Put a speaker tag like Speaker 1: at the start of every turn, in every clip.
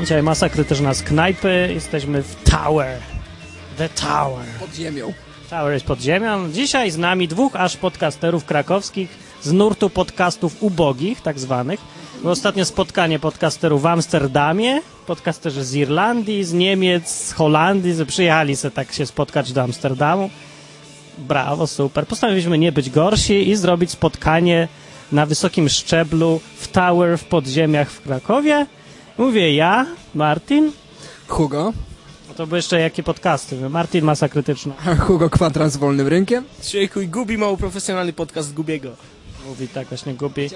Speaker 1: dzisiaj masakry też nas knajpy. Jesteśmy w Tower. The Tower.
Speaker 2: Pod ziemią.
Speaker 1: Tower jest pod ziemią. Dzisiaj z nami dwóch aż podcasterów krakowskich z nurtu podcastów ubogich, tak zwanych. Było ostatnie spotkanie podcasterów w Amsterdamie, podcasterzy z Irlandii, z Niemiec, z Holandii, że przyjechali se tak się spotkać do Amsterdamu. Brawo, super. Postanowiliśmy nie być gorsi i zrobić spotkanie na wysokim szczeblu w Tower w podziemiach w Krakowie. Mówię ja, Martin.
Speaker 2: Hugo.
Speaker 1: No to były jeszcze jakie podcasty? Martin Masa Krytyczna.
Speaker 2: Hugo kwadrans z wolnym rynkiem.
Speaker 3: Człowieku, i Gubi mało profesjonalny podcast Gubiego.
Speaker 1: Mówi tak właśnie gubi.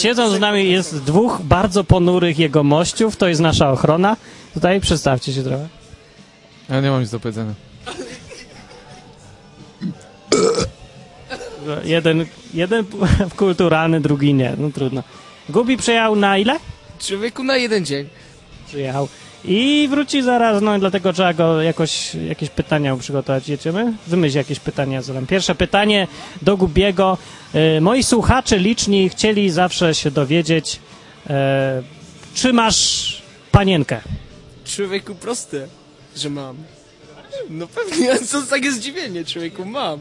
Speaker 1: Siedzą z nami jest dwóch bardzo ponurych jegomościów, to jest nasza ochrona. Tutaj przedstawcie się trochę.
Speaker 4: Ja nie mam nic do powiedzenia.
Speaker 1: Jeden, jeden kulturalny, drugi nie, no trudno. Gubi przyjechał na ile?
Speaker 2: Człowieku na jeden dzień.
Speaker 1: Przyjechał. I wróci zaraz, no i dlatego trzeba go jakoś, jakieś pytania mu przygotować. Jedziemy? Wymyśl jakieś pytania zadam. Pierwsze pytanie do Gubiego. E, moi słuchacze liczni chcieli zawsze się dowiedzieć, e, czy masz panienkę?
Speaker 3: Człowieku, proste, że mam. No pewnie, a co za takie zdziwienie, człowieku, mam.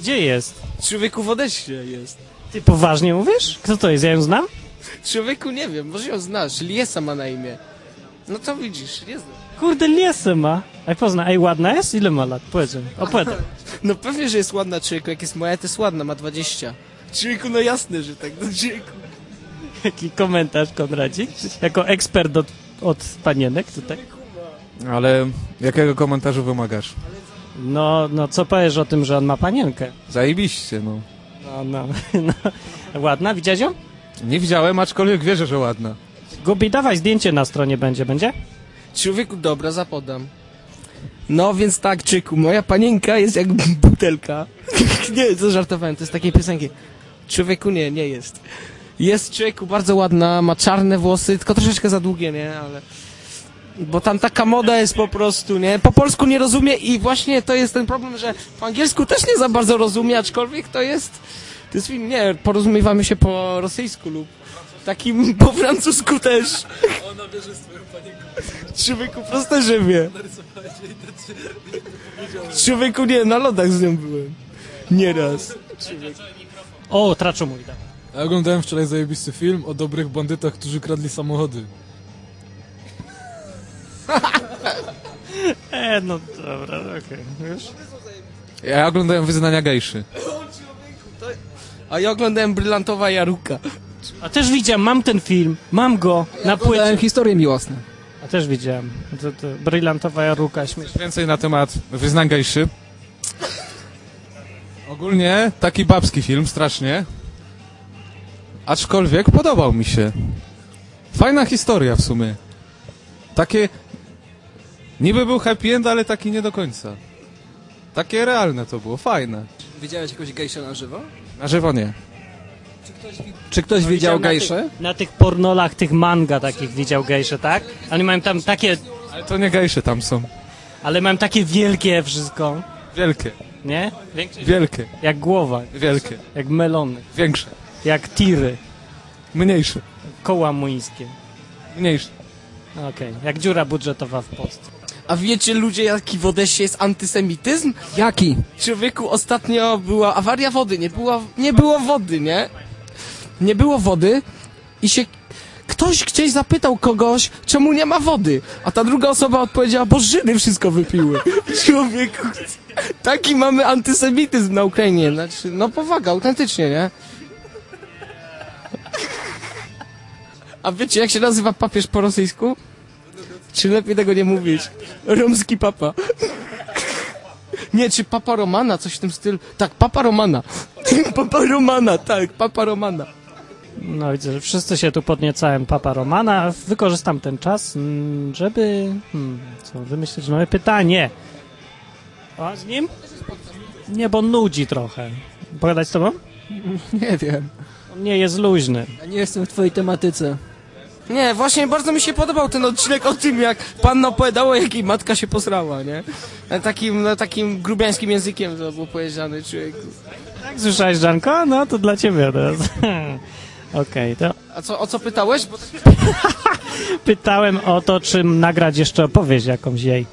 Speaker 1: Gdzie jest?
Speaker 3: Człowieku w Odeście jest.
Speaker 1: Ty poważnie mówisz? Kto to jest? Ja ją znam?
Speaker 3: Człowieku, nie wiem, może ją znasz, Liesa ma na imię. No to widzisz, nie znam.
Speaker 1: Kurde, liesy ma. Ej, pozna, ej, ładna jest? Ile ma lat? Powiedz mi, opowiadaj.
Speaker 3: No pewnie, że jest ładna, człowieku, jak jest moja, to jest ładna, ma 20. Człowieku, no jasne, że tak, no człowieku.
Speaker 1: Jaki komentarz, Konradzik? Jako ekspert od, od panienek tutaj.
Speaker 4: Ale jakiego komentarzu wymagasz?
Speaker 1: No, no, co powiesz o tym, że on ma panienkę?
Speaker 4: Zajebiście, no.
Speaker 1: No, no, no. Ładna, widziałeś ją?
Speaker 4: Nie widziałem, aczkolwiek wierzę, że ładna.
Speaker 1: Gubi, dawaj zdjęcie na stronie będzie, będzie?
Speaker 3: Człowieku, dobra, zapodam. No więc tak, czyku, moja panienka jest jak butelka. nie, co żartowałem, to jest takiej piosenki. Człowieku, nie, nie jest. Jest człowieku, bardzo ładna, ma czarne włosy, tylko troszeczkę za długie, nie, ale... Bo tam taka moda jest po prostu, nie? Po polsku nie rozumie i właśnie to jest ten problem, że po angielsku też nie za bardzo rozumie, aczkolwiek to jest... To jest film, nie, porozumiewamy się po rosyjsku lub takim po francusku też. Człowieku, proste żywie. Człowieku, nie, na lodach z nią byłem. Nieraz.
Speaker 1: O, traczu mój, dawaj.
Speaker 5: Ja oglądałem wczoraj zajebisty film o dobrych bandytach, którzy kradli samochody.
Speaker 1: E, no dobra, okej, już.
Speaker 4: Ja oglądałem wyznania gejszy.
Speaker 3: A ja oglądałem Brylantowa Jaruka.
Speaker 1: A też widziałem, mam ten film, mam go na płycie.
Speaker 2: Podałem historię miłosną.
Speaker 1: A też widziałem. To, to, brylantowa jaruka, śmieszna.
Speaker 4: Więcej na temat wyznań gejszy. Ogólnie taki babski film, strasznie. Aczkolwiek podobał mi się. Fajna historia w sumie. Takie... Niby był happy end, ale taki nie do końca. Takie realne to było, fajne.
Speaker 2: Widziałeś jakąś gejszę na żywo? No,
Speaker 4: Na żywo nie.
Speaker 2: Czy ktoś widział
Speaker 1: Widziałem Na
Speaker 2: gejszę?
Speaker 1: tych, na tych pornolach, tych manga takich widział gejsze, tak? Ale mają tam takie,
Speaker 4: Ale to nie gejsze tam są.
Speaker 1: ale mają takie wielkie wszystko,
Speaker 4: Wielkie,
Speaker 1: nie? Większe.
Speaker 4: wielkie,
Speaker 1: Jak głowa,
Speaker 4: wielkie,
Speaker 1: jak melony,
Speaker 4: większe,
Speaker 1: jak tiry,
Speaker 4: mniejsze,
Speaker 1: koła młyńskie.
Speaker 4: mniejsze.
Speaker 1: Okej, jak dziura budżetowa w Polsce.
Speaker 3: A wiecie ludzie, jaki w Odessie jest antysemityzm?
Speaker 2: Jaki?
Speaker 3: Człowieku, ostatnio była awaria wody, nie było, nie było wody, nie? Nie było wody i się... Ktoś gdzieś zapytał kogoś, czemu nie ma wody, a ta druga osoba odpowiedziała, bo Żydy wszystko wypiły. Człowieku, taki mamy antysemityzm na Ukrainie, znaczy, no powaga, autentycznie, nie? A wiecie, jak się nazywa papież po rosyjsku? Czy lepiej tego nie mówić? Romski papa. Nie, czy Papa Romana, coś w tym stylu. Tak, Papa Romana. Papa Romana, tak, Papa Romana.
Speaker 1: No widzę, że wszyscy się tu podniecałem Papa Romana. Wykorzystam ten czas, mm, żeby... Hmm, co, wymyślić nowe pytanie. A z nim? Nie, bo nudzi trochę. Pogadać z tobą?
Speaker 2: Nie wiem.
Speaker 1: On nie jest luźny.
Speaker 2: Ja nie jestem w twojej tematyce.
Speaker 3: Nie, właśnie bardzo mi się podobał ten odcinek o tym, jak panna opowiadała, jak jej matka się posrała, nie? Na Takim, no, takim grubiańskim językiem
Speaker 1: Tak
Speaker 3: to było powiedziane, człowieku.
Speaker 1: Jak słyszałeś, Żanko? No to dla ciebie teraz. Okej, to
Speaker 3: A co, o co pytałeś? Bo... tak-
Speaker 1: pytałem o to, czym nagrać jeszcze opowieść jakąś jej.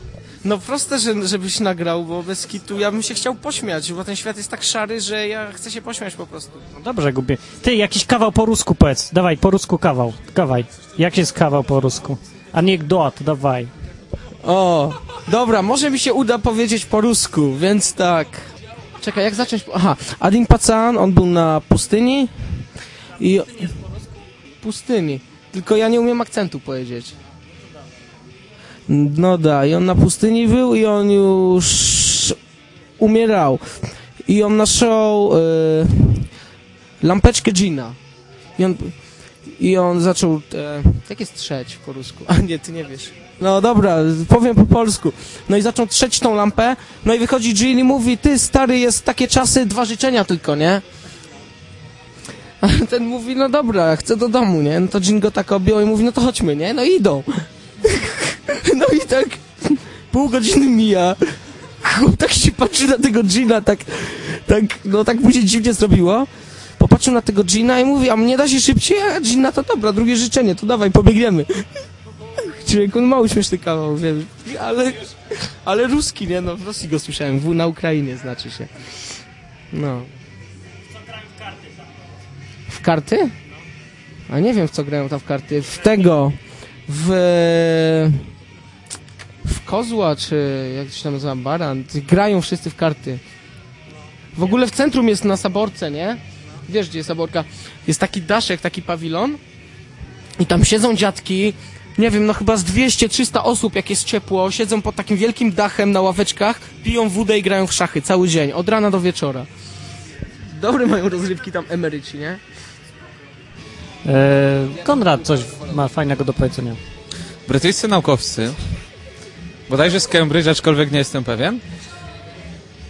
Speaker 3: No proste, że, żebyś nagrał, bo bez kitu ja bym się chciał pośmiać, bo ten świat jest tak szary, że ja chcę się pośmiać po prostu.
Speaker 1: No dobrze, gubię. Ty, jakiś kawał po rusku powiedz. Dawaj, po rusku kawał. Dawaj. Jak jest kawał po rusku? Anegdot, dawaj.
Speaker 3: O, dobra, może mi się uda powiedzieć po rusku, więc tak. Czekaj, jak zacząć? po- Aha, Adin Pacan, on był na pustyni i... Pustyni. Tylko ja nie umiem akcentu powiedzieć. No da, i on na pustyni był i on już umierał. I on naszał y... lampeczkę Gina. I on, I on zaczął... E... Jak jest trzeć po rusku? A nie, ty nie wiesz. No dobra, powiem po polsku. No i zaczął trzeć tą lampę, no i wychodzi Jill i mówi, ty stary, jest takie czasy, dwa życzenia tylko, nie? A ten mówi, no dobra, chcę do domu, nie? No to Jill go tak objął i mówi, no to chodźmy, nie? No i idą. No i tak pół godziny mija. Chłop tak się patrzy na tego Gina, tak, tak, no tak mu się dziwnie zrobiło. Popatrzył na tego Gina i mówi, a mnie da się szybciej? A Gina, to dobra, drugie życzenie, to dawaj, pobiegniemy. Człowieku, no mały śmieszny kawał, wiem, ale, ale ruski, nie no, w Rosji go słyszałem, w, na Ukrainie znaczy się. No. W karty? A nie wiem, w co grają tam w karty. W tego, w... W kozła, czy jak to się tam nazywa, baran. Grają wszyscy w karty. W ogóle w centrum jest na Saborce, nie? Wiesz, gdzie jest Saborka? Jest taki daszek, taki pawilon i tam siedzą dziadki, nie wiem, no chyba z 200-300 osób, jak jest ciepło, siedzą pod takim wielkim dachem na ławeczkach, piją wódę i grają w szachy cały dzień, od rana do wieczora. Dobre mają rozrywki tam emeryci, nie?
Speaker 1: E, Konrad coś ma fajnego do powiedzenia.
Speaker 4: Brytyjscy naukowcy, bodajże z Cambridge, aczkolwiek nie jestem pewien,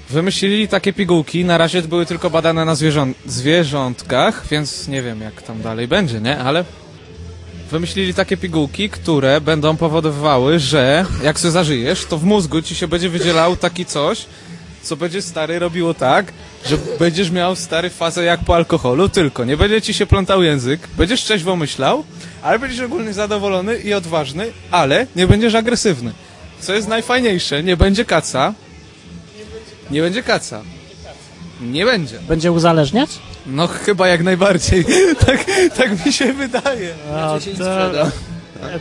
Speaker 4: wymyślili takie pigułki. Na razie były tylko badane na zwierząt, zwierzątkach, więc nie wiem, jak tam dalej będzie, nie? Ale wymyślili takie pigułki, które będą powodowały, że jak się zażyjesz, to w mózgu ci się będzie wydzielał taki coś, co będzie stary robiło tak, że będziesz miał stary fazę jak po alkoholu, tylko nie będzie ci się plątał język, będziesz trzeźwo myślał, ale będziesz ogólnie zadowolony i odważny, ale nie będziesz agresywny. Co jest najfajniejsze, nie będzie kaca. Nie będzie kaca. Nie będzie.
Speaker 1: Będzie uzależniać?
Speaker 4: No chyba jak najbardziej. tak, tak mi się wydaje.
Speaker 1: A, się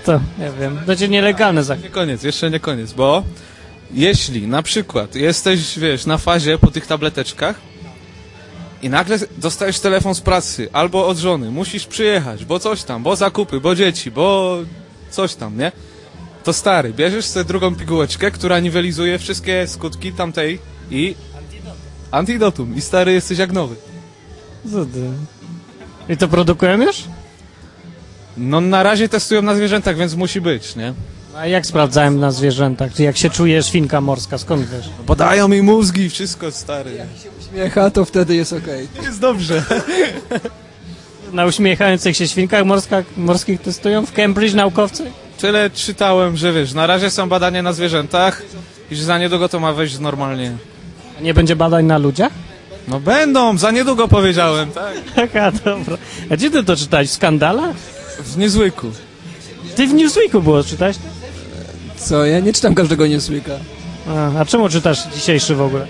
Speaker 1: to, nie wiem. Będzie nielegalne za
Speaker 4: Nie koniec, jeszcze nie koniec, bo jeśli na przykład jesteś, wiesz, na fazie po tych tableteczkach i nagle dostajesz telefon z pracy albo od żony, musisz przyjechać, bo coś tam, bo zakupy, bo dzieci, bo coś tam, nie? To stary, bierzesz sobie drugą pigułeczkę, która niwelizuje wszystkie skutki tamtej i... Antidotum. I stary jesteś jak nowy.
Speaker 1: Cudy. I to produkujemy już?
Speaker 4: No na razie testują na zwierzętach, więc musi być, nie?
Speaker 1: A jak sprawdzałem na zwierzętach? Czy jak się czuje świnka morska? Skąd wiesz?
Speaker 4: Podają mi mózgi i wszystko, stary.
Speaker 2: Śmiecha, to wtedy jest okej.
Speaker 4: Jest dobrze.
Speaker 1: Na uśmiechających się świnkach morska, morskich testują? W Cambridge naukowcy?
Speaker 4: Tyle czytałem, że wiesz, na razie są badania na zwierzętach i że za niedługo to ma wejść normalnie.
Speaker 1: A nie będzie badań na ludziach?
Speaker 4: No będą, za niedługo powiedziałem, tak?
Speaker 1: Taka, dobra. A gdzie ty to czytałeś? W skandalach?
Speaker 4: W niezłyku.
Speaker 1: Ty w Newsweeku było, czytałeś? to?
Speaker 2: Co, ja nie czytam każdego Newsweeka.
Speaker 1: A, a czemu czytasz dzisiejszy w ogóle?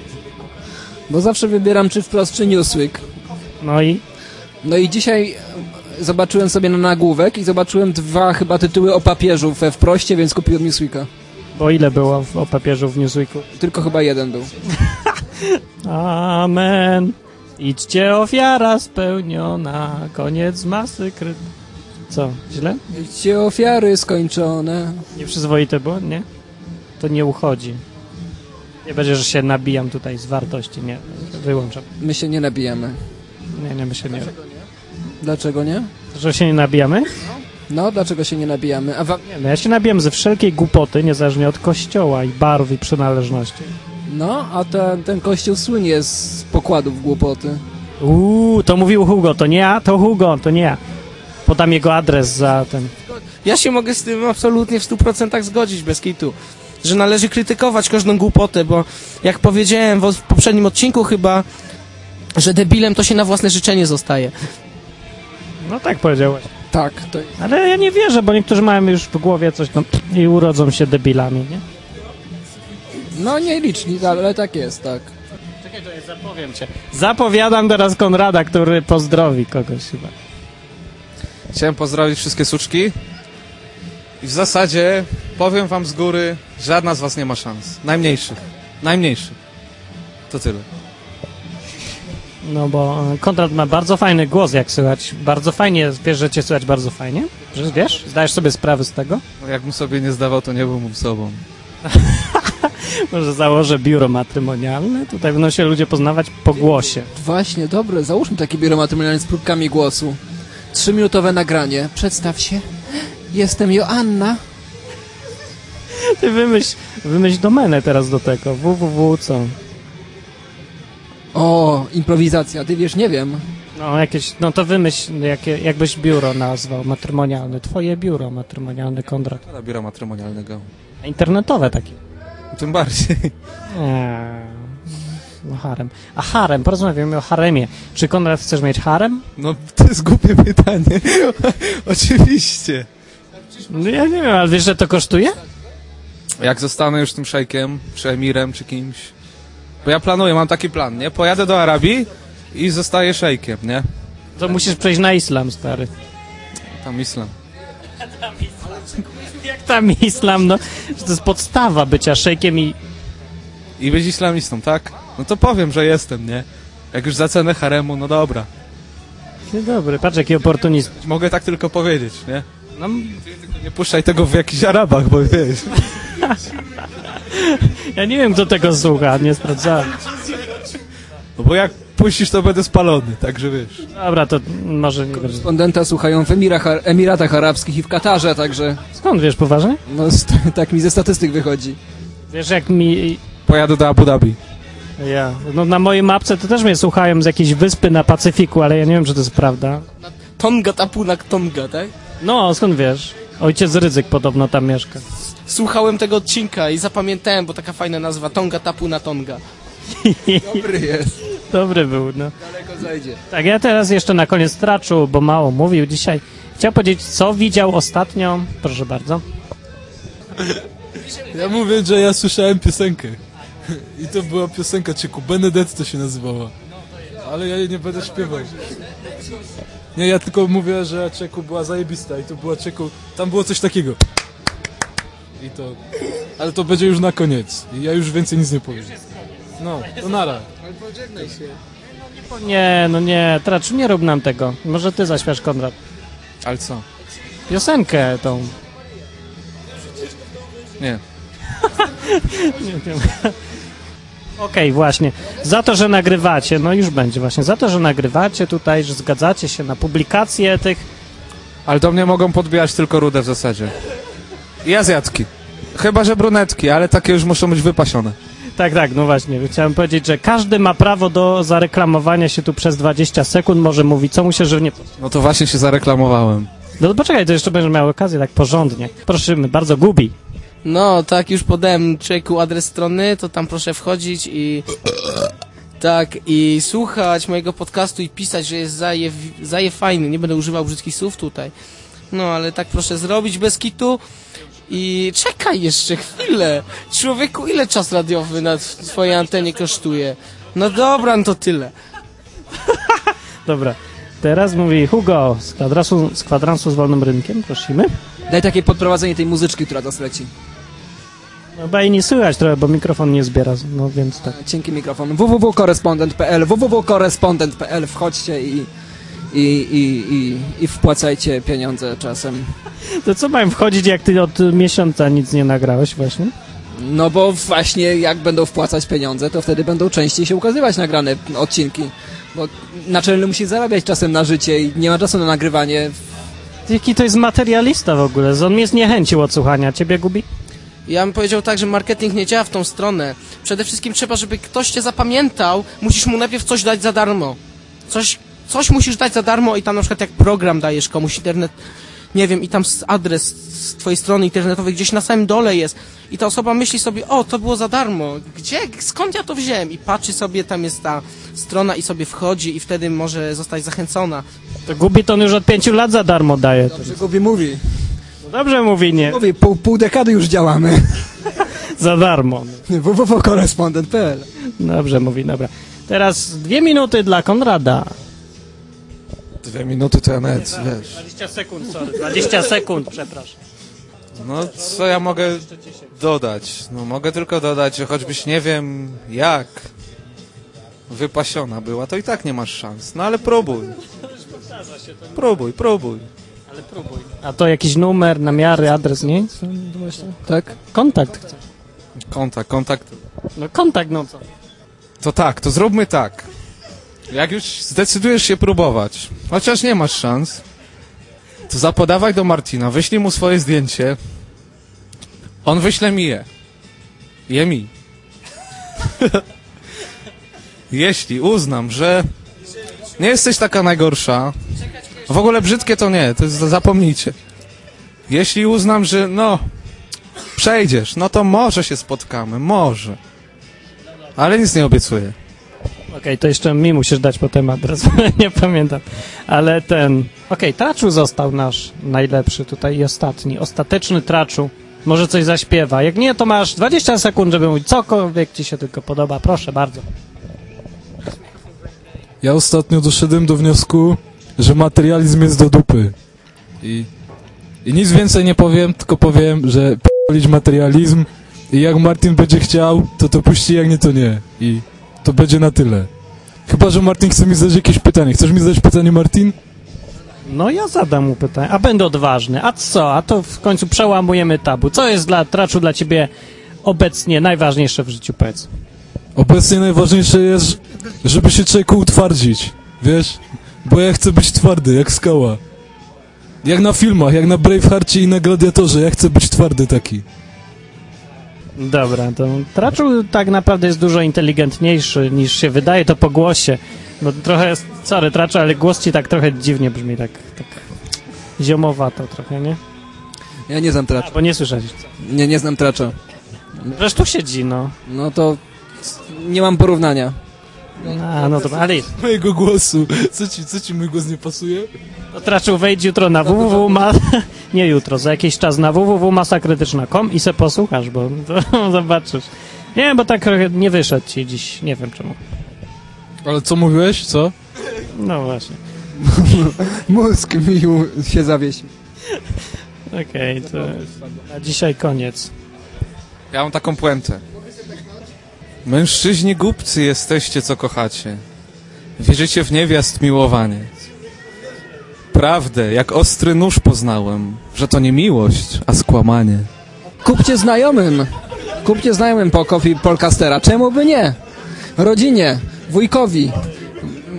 Speaker 2: Bo zawsze wybieram czy wprost, czy Newsweek.
Speaker 1: No i?
Speaker 2: No i dzisiaj e, zobaczyłem sobie na nagłówek i zobaczyłem dwa chyba tytuły o papieżu we wproście, więc kupiłem Newsweeka.
Speaker 1: Bo ile było w, o papieżu w Newsweeku?
Speaker 2: Tylko chyba jeden był.
Speaker 1: Amen. Idźcie ofiara spełniona, koniec masykry. Co, źle?
Speaker 2: Gdzie ofiary skończone.
Speaker 1: Nieprzyzwoite było, nie? To nie uchodzi. Nie będzie, że się nabijam tutaj z wartości, nie. Wyłączam.
Speaker 2: My się nie nabijamy.
Speaker 1: Nie, nie, my się nie...
Speaker 2: Dlaczego nie?
Speaker 1: Że się nie nabijamy?
Speaker 2: No, dlaczego się nie nabijamy? A wam...
Speaker 1: Nie, no ja się nabijam ze wszelkiej głupoty, niezależnie od kościoła i barw i przynależności.
Speaker 2: No, a ten, ten kościół słynie z pokładów głupoty.
Speaker 1: Uuu, to mówił Hugo, to nie ja, to Hugo, to nie ja. Podam jego adres za ten...
Speaker 3: Ja się mogę z tym absolutnie w 100% zgodzić, bez kitu. Że należy krytykować każdą głupotę, bo jak powiedziałem w w poprzednim odcinku chyba, że debilem to się na własne życzenie zostaje.
Speaker 1: No tak powiedziałeś.
Speaker 2: Tak, to jest.
Speaker 1: Ale ja nie wierzę, bo niektórzy mają już w głowie coś tam i urodzą się debilami, nie?
Speaker 2: No nieliczni, ale tak jest, tak.
Speaker 1: Czekaj, to ja zapowiem cię. Zapowiadam teraz Konrada, który pozdrowi kogoś chyba.
Speaker 4: Chciałem pozdrowić wszystkie suczki. I w zasadzie powiem wam z góry, żadna z was nie ma szans. Najmniejszych. Najmniejszych. To tyle.
Speaker 1: No bo e, Konrad ma bardzo fajny głos, jak słychać. Bardzo fajnie, wiesz, że cię słychać bardzo fajnie? Że Wiesz? Zdajesz sobie sprawę z tego?
Speaker 4: No, Jakbym sobie nie zdawał, to nie byłbym sobą.
Speaker 1: Może założę biuro matrymonialne? Tutaj będą się ludzie poznawać po głosie.
Speaker 2: Właśnie, dobre, załóżmy takie biuro matrymonialne z próbkami głosu. Trzyminutowe nagranie. Przedstaw się. Jestem Joanna.
Speaker 1: Ty wymyśl, wymyśl domenę teraz do tego. www co?
Speaker 2: O, improwizacja, ty wiesz, nie wiem.
Speaker 1: No jakieś, no to wymyśl, jakie, jakbyś biuro nazwał matrymonialne. Twoje biuro matrymonialne, Konrad.
Speaker 4: Szkoda biura matrymonialnego.
Speaker 1: Internetowe takie.
Speaker 4: Tym bardziej.
Speaker 1: Eee, No harem. A harem, porozmawiamy o haremie. Czy Konrad chcesz mieć harem?
Speaker 4: No, to jest głupie pytanie. Oczywiście.
Speaker 1: No ja nie wiem, ale wiesz, że to kosztuje?
Speaker 4: Jak zostanę już tym szejkiem, czy emirem, czy kimś. Bo ja planuję, mam taki plan, nie? Pojadę do Arabii i zostaję szejkiem, nie?
Speaker 1: To musisz przejść na islam, stary.
Speaker 4: Tam islam.
Speaker 1: Jak tam islam, no? że To jest podstawa bycia szejkiem i...
Speaker 4: I być islamistą, tak? No to powiem, że jestem, nie? Jak już za cenę haremu, no dobra.
Speaker 1: Dzień dobry, patrz jaki oportunizm.
Speaker 4: Mogę tak tylko powiedzieć, nie?
Speaker 1: No,
Speaker 4: Nie puszczaj tego w jakichś Arabach, bo wiesz.
Speaker 1: ja nie wiem, kto tego słucha, nie sprawdzałem.
Speaker 4: No bo jak puścisz, to będę spalony, także wiesz.
Speaker 1: Dobra, to może nie będzie.
Speaker 2: Respondenta słuchają w Emirach, Emiratach Arabskich i w Katarze, także
Speaker 1: Skąd wiesz poważnie?
Speaker 2: no, st- tak mi ze statystyk wychodzi.
Speaker 1: Wiesz, jak mi...
Speaker 4: Pojadę do Abu Dhabi.
Speaker 1: Ja. No na mojej mapce to też mnie słuchają z jakiejś wyspy na Pacyfiku, ale ja nie wiem, czy to jest prawda.
Speaker 3: Tonga Tapunak Tonga, tak?
Speaker 1: No, skąd wiesz? Ojciec Rydzyk podobno tam mieszka.
Speaker 3: Słuchałem tego odcinka i zapamiętałem, bo taka fajna nazwa, Tonga Tapuna Tonga.
Speaker 2: Dobry jest.
Speaker 1: Dobry był, no.
Speaker 2: Daleko zajdzie.
Speaker 1: Tak, ja teraz jeszcze na koniec traczu, bo mało mówił dzisiaj. Chciał powiedzieć, co widział ostatnio. Proszę bardzo.
Speaker 5: Ja mówię, że ja słyszałem piosenkę. I to była piosenka Cieku, Benedetto się nazywała. Ale ja jej nie będę śpiewał. Nie, ja tylko mówię, że Cieku była zajebista i to była Cieku... Tam było coś takiego. I to... Ale to będzie już na koniec. I ja już więcej nic nie powiem. No, to nara.
Speaker 1: O nie, no nie, traczu, nie rób nam tego. Może ty zaśpiesz, Konrad.
Speaker 4: Ale co?
Speaker 1: Piosenkę tą.
Speaker 4: Nie.
Speaker 1: Nie wiem. Okej, właśnie. Za to, że nagrywacie, no już będzie właśnie, za to, że nagrywacie tutaj, że zgadzacie się na publikację tych
Speaker 4: Ale do mnie mogą podbijać tylko rude w zasadzie. I Azjatki. Chyba, że brunetki, ale takie już muszą być wypasione.
Speaker 1: Tak, tak, no właśnie. Chciałem powiedzieć, że każdy ma prawo do zareklamowania się tu przez 20 sekund, może mówić, co mu się żywnie...
Speaker 4: No to właśnie się zareklamowałem.
Speaker 1: No poczekaj, to jeszcze będziesz miał okazję tak porządnie. Prosimy, bardzo gubi.
Speaker 3: No, tak, już podałem czeku adres strony, to tam proszę wchodzić i... Tak, i słuchać mojego podcastu i pisać, że jest zaje, zaje fajny, nie będę używał brzydkich słów tutaj. No, ale tak proszę zrobić bez kitu. I czekaj jeszcze chwilę. Człowieku, ile czas radiowy na tw- twojej antenie kosztuje? No dobra, no to tyle.
Speaker 1: Dobra. Teraz mówi Hugo z kwadransu z, kwadransu z wolnym rynkiem, prosimy.
Speaker 2: Daj takie podprowadzenie tej muzyczki, która teraz leci.
Speaker 1: Chyba i nie słychać trochę, No bo mikrofon nie zbiera, no więc tak.
Speaker 2: Cienki mikrofon. www.korespondent.pl www.korespondent.pl Wchodźcie i, i, i, i, i wpłacajcie pieniądze czasem.
Speaker 1: To co mam wchodzić, jak ty od miesiąca nic nie nagrałeś właśnie?
Speaker 2: No bo właśnie jak będą wpłacać pieniądze, to wtedy będą częściej się ukazywać nagrane odcinki. Bo naczelny musi zarabiać czasem na życie i nie ma czasu na nagrywanie.
Speaker 1: Jaki to jest materialista w ogóle? On mnie zniechęcił od słuchania. Ciebie gubi?
Speaker 3: Ja bym powiedział tak, że marketing nie działa w tą stronę. Przede wszystkim trzeba, żeby ktoś cię zapamiętał, musisz mu najpierw coś dać za darmo. Coś, coś musisz dać za darmo i tam na przykład jak program dajesz komuś internet. nie wiem, i tam s- adres z twojej strony internetowej gdzieś na samym dole jest. I ta osoba myśli sobie, o, to było za darmo. Gdzie, skąd ja to wziąłem? I patrzy sobie, tam jest ta strona i sobie wchodzi i wtedy może zostać zachęcona.
Speaker 1: To Gubiton już od pięciu lat za darmo daje.
Speaker 2: Dobrze, Gubi mówi.
Speaker 1: Dobrze mówi nie,
Speaker 2: Mówi, pół, pół dekady już działamy.
Speaker 1: za darmo.
Speaker 2: www.korespondent.pl
Speaker 1: Dobrze mówi, dobra. Teraz dwie minuty dla Konrada.
Speaker 4: Dwie minuty to ja nawet, wiesz.
Speaker 1: 20 sekund, sorry. 20 sekund, przepraszam.
Speaker 4: No, co ja mogę dodać? No, mogę tylko dodać, że choćbyś nie wiem jak wypasiona była, to i tak nie masz szans. No, ale próbuj. Próbuj, próbuj.
Speaker 1: A to jakiś numer, namiary, adres, nie?
Speaker 2: Tak?
Speaker 1: Kontakt. chcę.
Speaker 4: Kontakt, kontakt.
Speaker 1: No kontakt, no co?
Speaker 4: To tak, to zróbmy tak. Jak już zdecydujesz się próbować, chociaż nie masz szans, to zapodawaj do Marcina, wyślij mu swoje zdjęcie. On wyśle mi je. Je mi. Jeśli uznam, że nie jesteś taka najgorsza, w ogóle brzydkie to nie, to jest, zapomnijcie. Jeśli uznam, że no, przejdziesz, no to może się spotkamy, może. Ale nic nie obiecuję.
Speaker 1: Okej, to jeszcze mi musisz dać potem adres, nie pamiętam. Ale ten... Okej, Traczu został nasz najlepszy tutaj i ostatni. Ostateczny Traczu. Może coś zaśpiewa. Jak nie, to masz 20 sekund, żeby mówić cokolwiek ci się tylko podoba. Proszę bardzo.
Speaker 5: Ja ostatnio doszedłem do wniosku, że materializm jest do dupy. I, i nic więcej nie powiem, tylko powiem, że p***lić materializm i jak Martin będzie chciał, to to puści, jak nie, to nie. I to będzie na tyle. Chyba, że Martin chce mi zadać jakieś pytanie. Chcesz mi zadać pytanie, Martin?
Speaker 1: No ja zadam mu pytanie, a będę odważny. A co? A to w końcu przełamujemy tabu. Co jest dla Traczu dla ciebie obecnie najważniejsze w życiu, powiedz?
Speaker 5: Obecnie najważniejsze jest, żeby się człowieku utwardzić. Wiesz? Bo ja chcę być twardy, jak skała. Jak na filmach, jak na Braveheartie i na Gladiatorze. Ja chcę być twardy taki.
Speaker 1: Dobra, to Traczu tak naprawdę jest dużo inteligentniejszy niż się wydaje to po głosie. Bo trochę, sorry Traczu, ale głos ci tak trochę dziwnie brzmi, tak, tak ziomowato trochę, nie?
Speaker 2: Ja nie znam tracza.
Speaker 1: Bo nie słyszałeś.
Speaker 2: Nie, nie znam tracza.
Speaker 1: Zresztą tu siedzi, no.
Speaker 2: No to nie mam porównania.
Speaker 1: A, no to, ale jest.
Speaker 5: mojego głosu. Co ci, co ci mój głos nie pasuje? No,
Speaker 1: To No, Traczu wejdź jutro na www, ma... nie jutro, za jakiś czas na www.masakrytyczna.com i se posłuchasz, bo to zobaczysz. Nie, bo tak trochę nie wyszedł ci dziś, nie wiem czemu.
Speaker 5: Ale co mówiłeś, co?
Speaker 1: No właśnie.
Speaker 2: Mózg mi u- się zawiesił.
Speaker 1: Okej, to na dzisiaj koniec.
Speaker 4: Ja mam taką puentę. Mężczyźni głupcy jesteście, co kochacie. Wierzycie w niewiast miłowanie. Prawdę, jak ostry nóż poznałem, że to nie miłość, a skłamanie.
Speaker 2: Kupcie znajomym. Kupcie znajomym po kofi Polkastera. Czemu by nie? Rodzinie, wujkowi,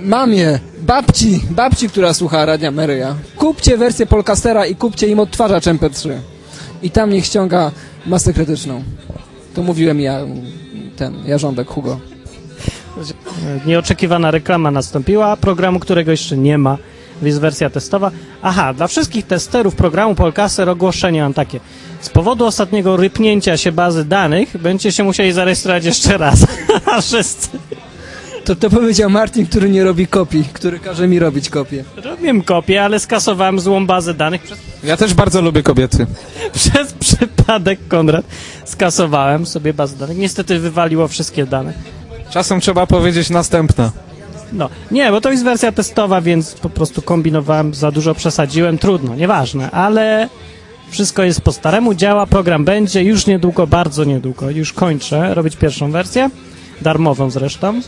Speaker 2: mamie, babci, babci, która słucha Radia Maryja. Kupcie wersję Polkastera i kupcie im odtwarzacz MP3. I tam niech ściąga masę krytyczną. To mówiłem ja, ten, jarząbek Hugo.
Speaker 1: Nieoczekiwana reklama nastąpiła, programu, którego jeszcze nie ma, jest wersja testowa. Aha, dla wszystkich testerów programu Polcaster ogłoszenie mam takie. Z powodu ostatniego rypnięcia się bazy danych będziecie się musieli zarejestrować jeszcze raz. Wszyscy.
Speaker 2: To, to powiedział Martin, który nie robi kopii, który każe mi robić kopię.
Speaker 1: Robiłem kopię, ale skasowałem złą bazę danych. Przez,
Speaker 4: Ja też bardzo lubię kobiety.
Speaker 1: przez przypadek, Konrad, skasowałem sobie bazę danych. Niestety wywaliło wszystkie dane.
Speaker 4: Czasem trzeba powiedzieć następna.
Speaker 1: No, nie, bo to jest wersja testowa, więc po prostu kombinowałem, za dużo przesadziłem, trudno, nieważne, ale wszystko jest po staremu, działa, program będzie już niedługo, bardzo niedługo, już kończę robić pierwszą wersję, darmową zresztą.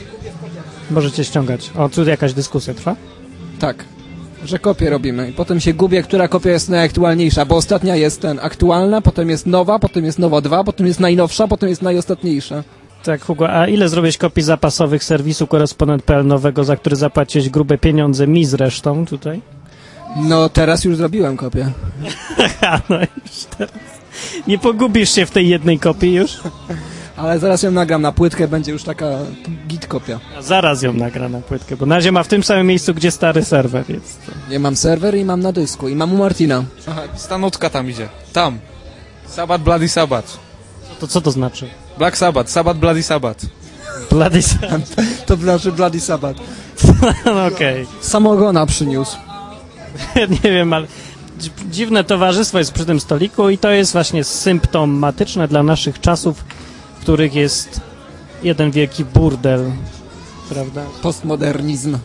Speaker 1: Możecie ściągać. O, tu jakaś dyskusja trwa.
Speaker 2: Tak. Że kopie robimy i potem się gubię, która kopia jest najaktualniejsza, bo ostatnia jest ten aktualna, potem jest nowa, potem jest nowa 2, potem jest najnowsza, potem jest najostatniejsza.
Speaker 1: Tak, Hugo, a ile zrobiłeś kopii zapasowych serwisu korespondent.pl nowego, za który zapłaciłeś grube pieniądze mi zresztą tutaj?
Speaker 2: No teraz już zrobiłem kopię.
Speaker 1: A, no już teraz. Nie pogubisz się w tej jednej kopii już?
Speaker 2: Ale zaraz ją nagram na płytkę, będzie już taka git kopia.
Speaker 1: A zaraz ją nagra na płytkę, bo na razie ma w tym samym miejscu, gdzie stary serwer jest.
Speaker 2: Ja mam serwer i mam na dysku i mam u Martina.
Speaker 4: Stanotka tam idzie. Tam. Sabat, Bloody Sabat.
Speaker 1: To co to znaczy?
Speaker 4: Black Sabat, Sabat, Bloody Sabat.
Speaker 1: Bloody Sabbath.
Speaker 2: To znaczy Bloody Sabbath.
Speaker 1: No okej.
Speaker 2: Samogona przyniósł.
Speaker 1: Nie wiem, ale dzi- dziwne towarzystwo jest przy tym stoliku i to jest właśnie symptomatyczne dla naszych czasów, w których jest jeden wielki burdel. Prawda?
Speaker 2: Postmodernizm.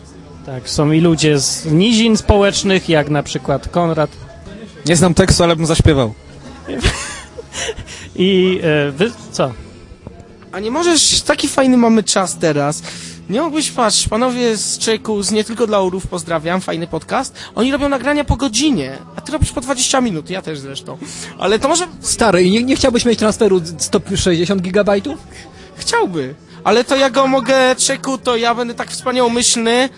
Speaker 1: Tak, są i ludzie z nizin społecznych, jak na przykład Konrad,
Speaker 4: Nie znam tekstu, ale bym zaśpiewał.
Speaker 1: i e, wy... co?
Speaker 3: A nie możesz, taki fajny mamy czas teraz. Nie mógłbyś, patrz, panowie z Czeku, z nie tylko dla Urów, pozdrawiam, fajny podcast. Oni robią nagrania po godzinie, a ty robisz po 20 minut, ja też zresztą. Ale to może
Speaker 2: Stary, i nie, nie chciałbyś mieć transferu 160 gigabajtów?
Speaker 3: Chciałby. Ale to ja go mogę, Czeku, to ja będę tak wspaniałomyślny.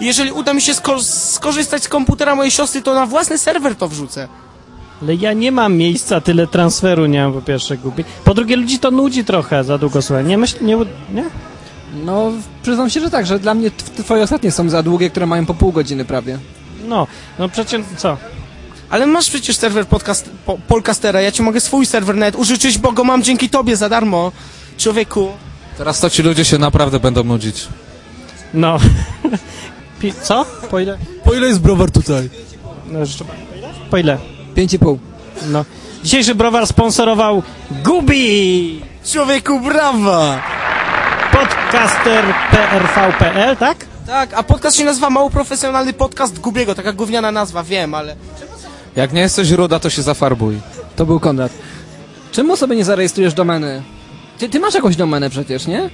Speaker 3: Jeżeli uda mi się sko- skorzystać z komputera mojej siostry, to na własny serwer to wrzucę.
Speaker 1: Ale ja nie mam miejsca, tyle transferu nie mam po pierwsze głupi. Po drugie, ludzi to nudzi trochę za długo słuchaj. Nie myśl, nie, nie?
Speaker 2: No, przyznam się, że tak, że dla mnie tw- twoje ostatnie są za długie, które mają po pół godziny prawie.
Speaker 1: No, no przecież co?
Speaker 3: Ale masz przecież serwer podcast- po- Polcastera, ja ci mogę swój serwer nawet użyczyć, bo go mam dzięki tobie za darmo. Człowieku,
Speaker 4: Teraz to ci ludzie się naprawdę będą nudzić.
Speaker 1: No. Pi- co? Po ile?
Speaker 5: Po ile jest browar tutaj?
Speaker 1: No, jeszcze... Po ile?
Speaker 2: 5,5.
Speaker 1: No. Dzisiejszy browar sponsorował Gubi!
Speaker 3: człowieku, brawa!
Speaker 1: Podcaster.prv.pl, tak?
Speaker 3: Tak, a podcast się nazywa Mało Profesjonalny Podcast Gubiego, taka gówniana nazwa, wiem, ale...
Speaker 4: Jak nie jesteś ruda, to się zafarbuj.
Speaker 2: To był Konrad. Czemu sobie nie zarejestrujesz domeny? Ty, ty masz jakąś domenę przecież, nie?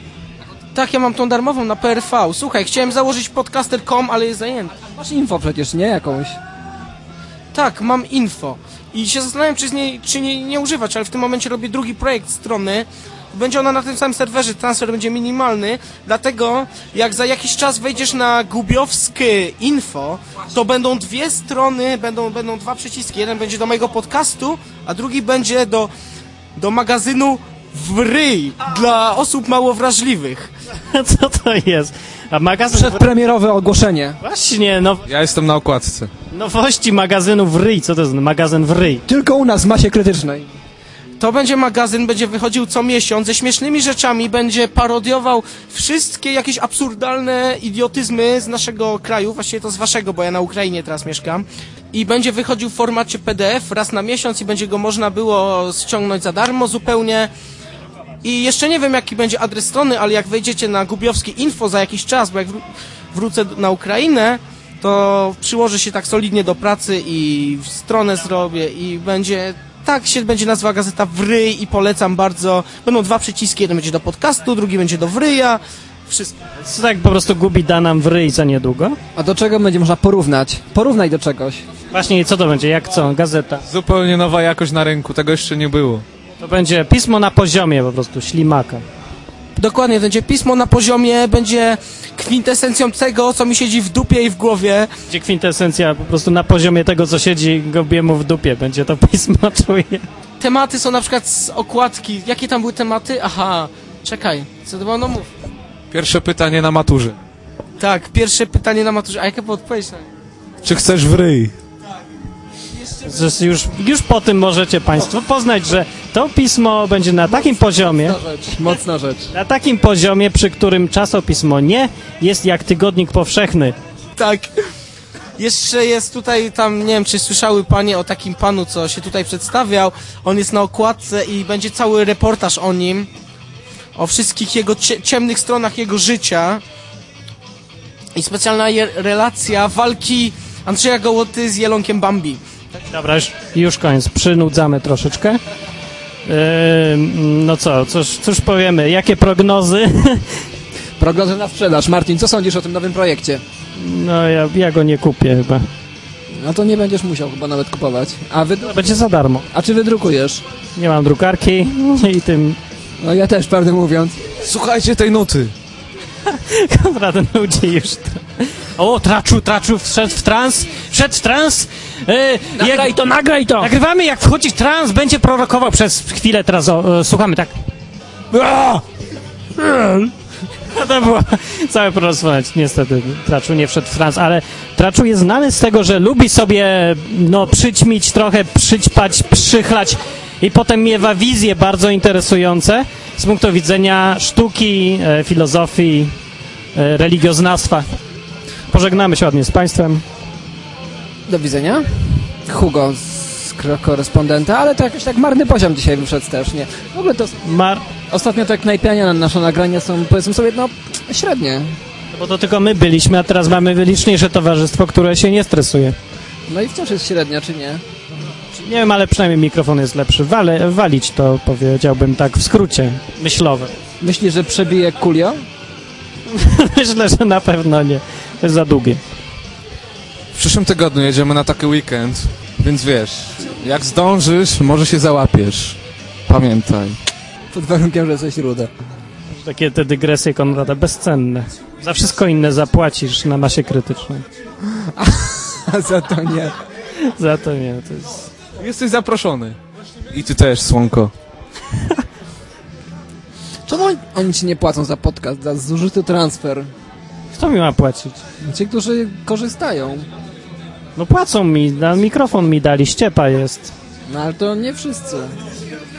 Speaker 3: Tak, ja mam tą darmową na PRV. Słuchaj, chciałem założyć podcaster.com, ale jest zajęty.
Speaker 2: Masz info przecież, nie? Jakąś.
Speaker 3: Tak, mam info. I się zastanawiam, czy, z niej, czy nie, nie używać, ale w tym momencie robię drugi projekt strony. Będzie ona na tym samym serwerze, transfer będzie minimalny, dlatego jak za jakiś czas wejdziesz na gubiowskie info, to będą dwie strony, będą, będą dwa przyciski. Jeden będzie do mojego podcastu, a drugi będzie do, do magazynu Wryj dla osób mało wrażliwych.
Speaker 1: Co to jest? A magazyn...
Speaker 2: Przedpremierowe ogłoszenie.
Speaker 1: Właśnie, no,
Speaker 4: Ja jestem na okładce.
Speaker 1: nowości magazynu w ryj. Co to jest magazyn w ryj?
Speaker 2: Tylko u nas w masie krytycznej.
Speaker 3: To będzie magazyn, będzie wychodził co miesiąc ze śmiesznymi rzeczami, będzie parodiował wszystkie jakieś absurdalne idiotyzmy z naszego kraju, właściwie to z waszego, bo ja na Ukrainie teraz mieszkam. I będzie wychodził w formacie PDF raz na miesiąc i będzie go można było ściągnąć za darmo zupełnie. I jeszcze nie wiem, jaki będzie adres strony, ale jak wejdziecie na Gubiowskie Info za jakiś czas, bo jak wró- wrócę na Ukrainę, to przyłożę się tak solidnie do pracy i stronę zrobię i będzie... Tak się będzie nazwała gazeta Wryj i polecam bardzo. Będą dwa przyciski, jeden będzie do podcastu, drugi będzie do Y Wryja. Wszystko.
Speaker 1: Co tak po prostu Gubi da nam w ryj za niedługo?
Speaker 2: A do czego będzie można porównać? Porównaj do czegoś.
Speaker 1: Właśnie, co to będzie? Jak co? Gazeta.
Speaker 4: Zupełnie nowa jakość na rynku, tego jeszcze nie było.
Speaker 1: To będzie pismo na poziomie po prostu, ślimaka.
Speaker 3: Dokładnie, będzie pismo na poziomie, będzie kwintesencją tego, co mi siedzi w dupie i w głowie.
Speaker 1: Gdzie kwintesencja po prostu na poziomie tego, co siedzi Gobiemu w dupie. Będzie to pismo, czuję.
Speaker 3: Tematy są na przykład z okładki. Jakie tam były tematy? Aha, czekaj, co to było? No mów.
Speaker 4: Pierwsze pytanie na maturze.
Speaker 3: Tak, pierwsze pytanie na maturze. A jaka była odpowiedź na nie?
Speaker 4: Czy chcesz w ryj?
Speaker 1: Zresztą Już, już po tym możecie Państwo poznać, że to pismo będzie na takim poziomie,
Speaker 2: rzecz. Mocna rzecz.
Speaker 1: na takim poziomie, przy którym czasopismo nie jest jak tygodnik powszechny.
Speaker 3: Tak. Jeszcze jest tutaj, tam nie wiem, czy słyszały panie o takim panu, co się tutaj przedstawiał. On jest na okładce i będzie cały reportaż o nim. O wszystkich jego cie- ciemnych stronach jego życia. I specjalna je- relacja walki Andrzeja Gołoty z Jelonkiem Bambi.
Speaker 1: Dobra, już, już koniec. Przynudzamy troszeczkę. Ym, no co, cóż, cóż powiemy? Jakie prognozy?
Speaker 2: Prognozy na sprzedaż. Martin, co sądzisz o tym nowym projekcie?
Speaker 1: No ja, ja go nie kupię chyba.
Speaker 2: No to nie będziesz musiał chyba nawet kupować. A, wy...
Speaker 1: Będzie za darmo.
Speaker 2: A czy wydrukujesz?
Speaker 1: Nie mam drukarki i tym
Speaker 2: No ja też, prawdę mówiąc.
Speaker 4: Słuchajcie tej nuty.
Speaker 1: Konrad nudzi już to. O, traczu, traczu, wszedł w trans, wszedł w trans. Yy, nagraj to, nagraj to. Nagrywamy, jak wchodzi w trans, będzie prorokował przez chwilę teraz, o, e, słuchamy, tak. No to było całe porozmawiać. Niestety Traczu nie wszedł w trans, ale Traczu jest znany z tego, że lubi sobie no, przyćmić trochę, przyćpać, przychlać i potem miewa wizje bardzo interesujące z punktu widzenia sztuki, e, filozofii, e, religioznawstwa. Pożegnamy się ładnie z Państwem.
Speaker 2: Do widzenia. Hugo z kro- korespondenta, ale to jakoś tak marny poziom dzisiaj wyszedł też, nie? W ogóle to s-
Speaker 1: Mar
Speaker 2: ostatnio tak knajpiania na nasze nagrania są, powiedzmy sobie, no średnie.
Speaker 1: no bo to tylko my byliśmy, a teraz mamy liczniejsze towarzystwo, które się nie stresuje.
Speaker 2: No i wciąż jest średnia, czy nie?
Speaker 1: Nie wiem, ale przynajmniej mikrofon jest lepszy. Wale, walić to powiedziałbym tak w skrócie myślowym.
Speaker 2: Myślisz, że przebije kulio?
Speaker 1: Myślę, że na pewno nie. To jest za długie.
Speaker 4: W przyszłym tygodniu jedziemy na taki weekend, więc wiesz, jak zdążysz, może się załapiesz. Pamiętaj.
Speaker 2: Pod warunkiem, że jesteś ruda.
Speaker 1: Takie te dygresje Konrada bezcenne. Za wszystko inne zapłacisz na masie krytycznej.
Speaker 2: A za to nie.
Speaker 1: Za to nie, to jest...
Speaker 4: Jesteś zaproszony. I ty też, słonko.
Speaker 2: Czemu oni- oni ci nie płacą za podcast, za zużyty transfer?
Speaker 1: Kto mi ma płacić?
Speaker 2: Ci, którzy korzystają.
Speaker 1: No płacą mi, na mikrofon mi dali, ściepa jest.
Speaker 2: No ale to nie wszyscy.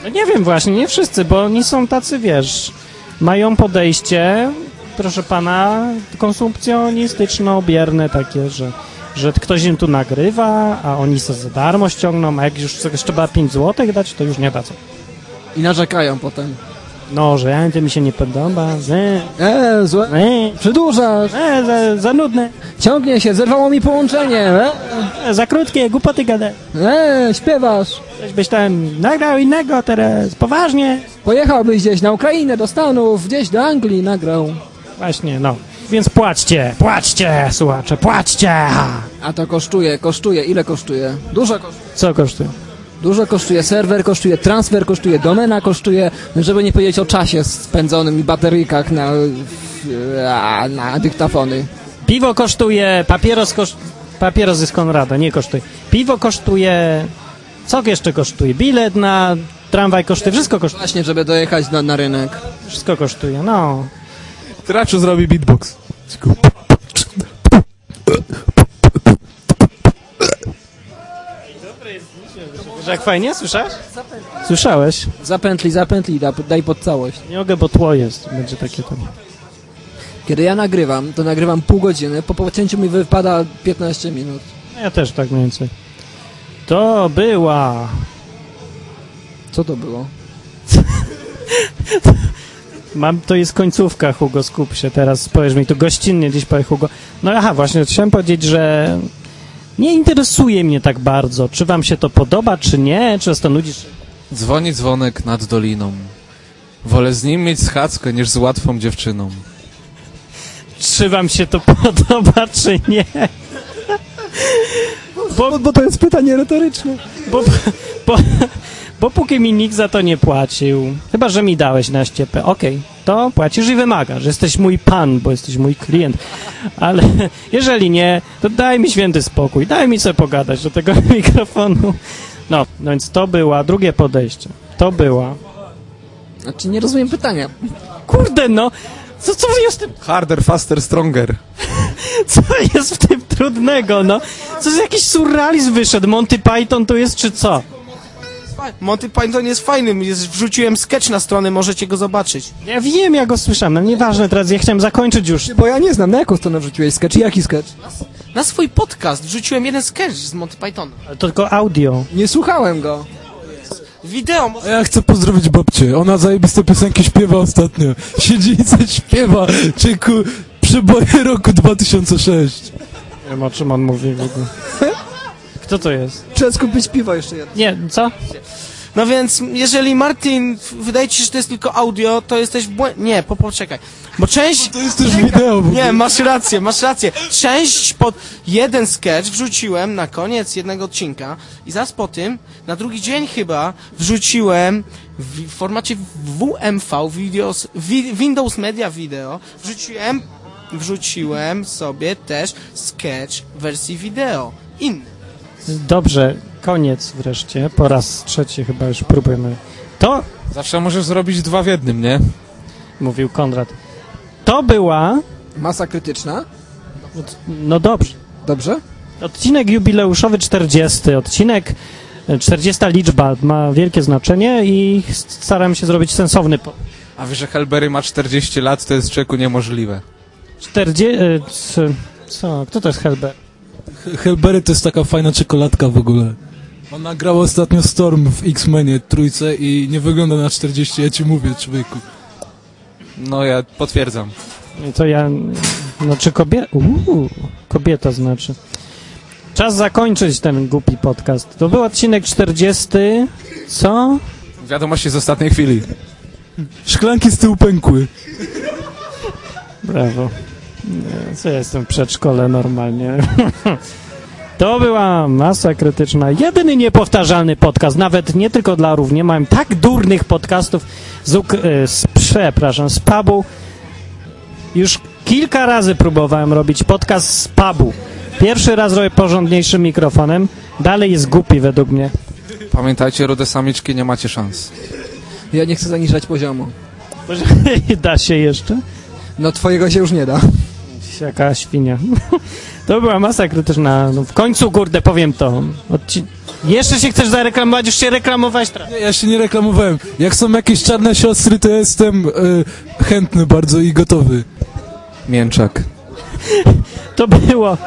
Speaker 1: No nie wiem właśnie, nie wszyscy, bo oni są tacy, wiesz, mają podejście, proszę pana, konsumpcjonistyczno-bierne takie, że, że ktoś im tu nagrywa, a oni se za darmo ściągną, a jak już coś trzeba 5 zł dać, to już nie dadzą.
Speaker 2: I narzekają potem.
Speaker 1: No, że ja, to mi się nie podoba, że,
Speaker 2: Eee, złe.
Speaker 1: że,
Speaker 2: Przedłużasz!
Speaker 1: że za, za nudne,
Speaker 2: Ciągnie się, zerwało mi połączenie! Eee,
Speaker 1: za krótkie, głupoty gada.
Speaker 2: eee śpiewasz!
Speaker 1: Coś byś tam nagrał innego teraz, poważnie.
Speaker 2: Pojechałbyś gdzieś na Ukrainę, do Stanów, gdzieś do Anglii nagrał.
Speaker 1: Właśnie, no. Więc płaczcie, płaczcie, słuchacze, płaczcie!
Speaker 2: A to kosztuje, kosztuje, ile kosztuje? Dużo kosztuje.
Speaker 1: Co kosztuje?
Speaker 2: Dużo kosztuje, serwer kosztuje, transfer kosztuje, domena kosztuje, żeby nie powiedzieć o czasie spędzonym i baterykach na, na, na dyktafony.
Speaker 1: Piwo kosztuje, papieros kosztuje. Papieros jest Konrada, nie kosztuje. Piwo kosztuje. Co jeszcze kosztuje? Bilet na tramwaj kosztuje, wszystko kosztuje.
Speaker 2: Właśnie, żeby dojechać na, na rynek.
Speaker 1: Wszystko kosztuje, no.
Speaker 4: Traczu zrobi beatbox.
Speaker 1: Że jak fajnie, słyszałeś? Słyszałeś?
Speaker 2: Zapętli, zapętli, da, daj pod całość.
Speaker 1: Nie mogę, bo tło jest. Będzie takie tam.
Speaker 2: Kiedy ja nagrywam, to nagrywam pół godziny, po pocięciu mi wypada 15 minut.
Speaker 1: No Ja też tak mniej więcej. To była.
Speaker 2: Co to było?
Speaker 1: Mam, to jest końcówka, Hugo, skup się teraz, spojrz mi, tu gościnnie dziś powie Hugo. No aha, właśnie, chciałem powiedzieć, że nie interesuje mnie tak bardzo, czy wam się to podoba, czy nie, czy was to nudzi, czy...
Speaker 4: Dzwoni dzwonek nad doliną. Wolę z nim mieć schadzkę niż z łatwą dziewczyną.
Speaker 1: czy wam się to podoba, czy nie. Bo,
Speaker 2: to jest pytanie retoryczne.
Speaker 1: bo, bo, bo póki mi nikt za to nie płacił, chyba że mi dałeś na ściepę, okej, to płacisz i wymagasz. Jesteś mój pan, bo jesteś mój klient. Ale jeżeli nie, to daj mi święty spokój, daj mi sobie pogadać do tego mikrofonu. No, no więc to była drugie podejście. To była.
Speaker 2: Znaczy, nie rozumiem pytania.
Speaker 1: Kurde, no! Co, co jest w tym
Speaker 4: Harder, faster, stronger.
Speaker 1: Co jest w tym trudnego, no? Co jest jakiś surrealizm wyszedł? Monty Python to jest, czy co?
Speaker 3: Monty Python jest fajnym, jest, wrzuciłem sketch na stronę, możecie go zobaczyć.
Speaker 1: Ja wiem, ja go słyszałem, no nieważne, teraz ja chciałem zakończyć już.
Speaker 2: Bo ja nie znam, na jaką stronę wrzuciłeś sketch i jaki sketch?
Speaker 3: Na swój podcast wrzuciłem jeden sketch z Monty Pythona.
Speaker 1: To tylko audio.
Speaker 2: Nie słuchałem go.
Speaker 3: Wideo,
Speaker 5: A ja chcę pozdrowić babcię. Ona zajebiste piosenki śpiewa ostatnio. Siedzi i coś śpiewa. Czeku, przeboje roku 2006.
Speaker 1: Nie wiem, o czym on mówi w ogóle. Kto to jest?
Speaker 2: Trzeba skupić piwo jeszcze jedno.
Speaker 1: Nie, co?
Speaker 3: No więc, jeżeli Martin, w- wydaje ci się, że to jest tylko audio, to jesteś w błę... Nie, po, poczekaj. Bo część...
Speaker 5: To jest też wideo. bo-
Speaker 3: Nie, masz rację, masz rację. Część pod... Jeden sketch wrzuciłem na koniec jednego odcinka i zaraz po tym, na drugi dzień chyba, wrzuciłem w w formacie WMV, videos, wi Windows Media Video, wrzuciłem, wrzuciłem sobie też sketch w wersji wideo. Inny.
Speaker 1: Dobrze, koniec wreszcie, po raz trzeci chyba już próbujemy. To
Speaker 4: Zawsze możesz zrobić dwa w jednym, nie?
Speaker 1: mówił Konrad. To była.
Speaker 2: Masa krytyczna?
Speaker 1: No dobrze.
Speaker 2: Dobrze?
Speaker 1: Odcinek jubileuszowy 40. Odcinek 40 liczba ma wielkie znaczenie i staram się zrobić sensowny. Po...
Speaker 4: A wiesz, że Helbery ma 40 lat, to jest czeku niemożliwe.
Speaker 1: 40. e, c- Co? Kto to jest Helber?
Speaker 5: Helbery to jest taka fajna czekoladka w ogóle. Ona grała ostatnio Storm w X-Menie trójce i nie wygląda na 40, ja ci mówię, człowieku.
Speaker 4: No ja potwierdzam.
Speaker 1: To ja. Znaczy kobieta. Uuu, kobieta znaczy. Czas zakończyć ten głupi podcast. To był odcinek 40. Co?
Speaker 4: Wiadomości z ostatniej chwili.
Speaker 5: Szklanki z tyłu pękły.
Speaker 1: Brawo. Nie, Co ja jestem w przedszkole normalnie. To była masa krytyczna. Jedyny niepowtarzalny podcast, nawet nie tylko dla równie. Mam tak durnych podcastów z, uk- e, z przepraszam, z pubu. Już kilka razy próbowałem robić podcast z pubu. Pierwszy raz robię porządniejszym mikrofonem. Dalej jest głupi według mnie.
Speaker 4: Pamiętajcie, rude samiczki, nie macie szans.
Speaker 2: Ja nie chcę zaniżać poziomu.
Speaker 1: Może da się jeszcze?
Speaker 2: No twojego się już nie da.
Speaker 1: Jaka świnia. To była masa krytyczna. No w końcu, kurde, powiem to. Odci... Jeszcze się chcesz zareklamować, już się reklamować teraz.
Speaker 5: Nie, ja się nie reklamowałem. Jak są jakieś czarne siostry, to ja jestem e, chętny bardzo i gotowy.
Speaker 4: Mięczak.
Speaker 1: To było...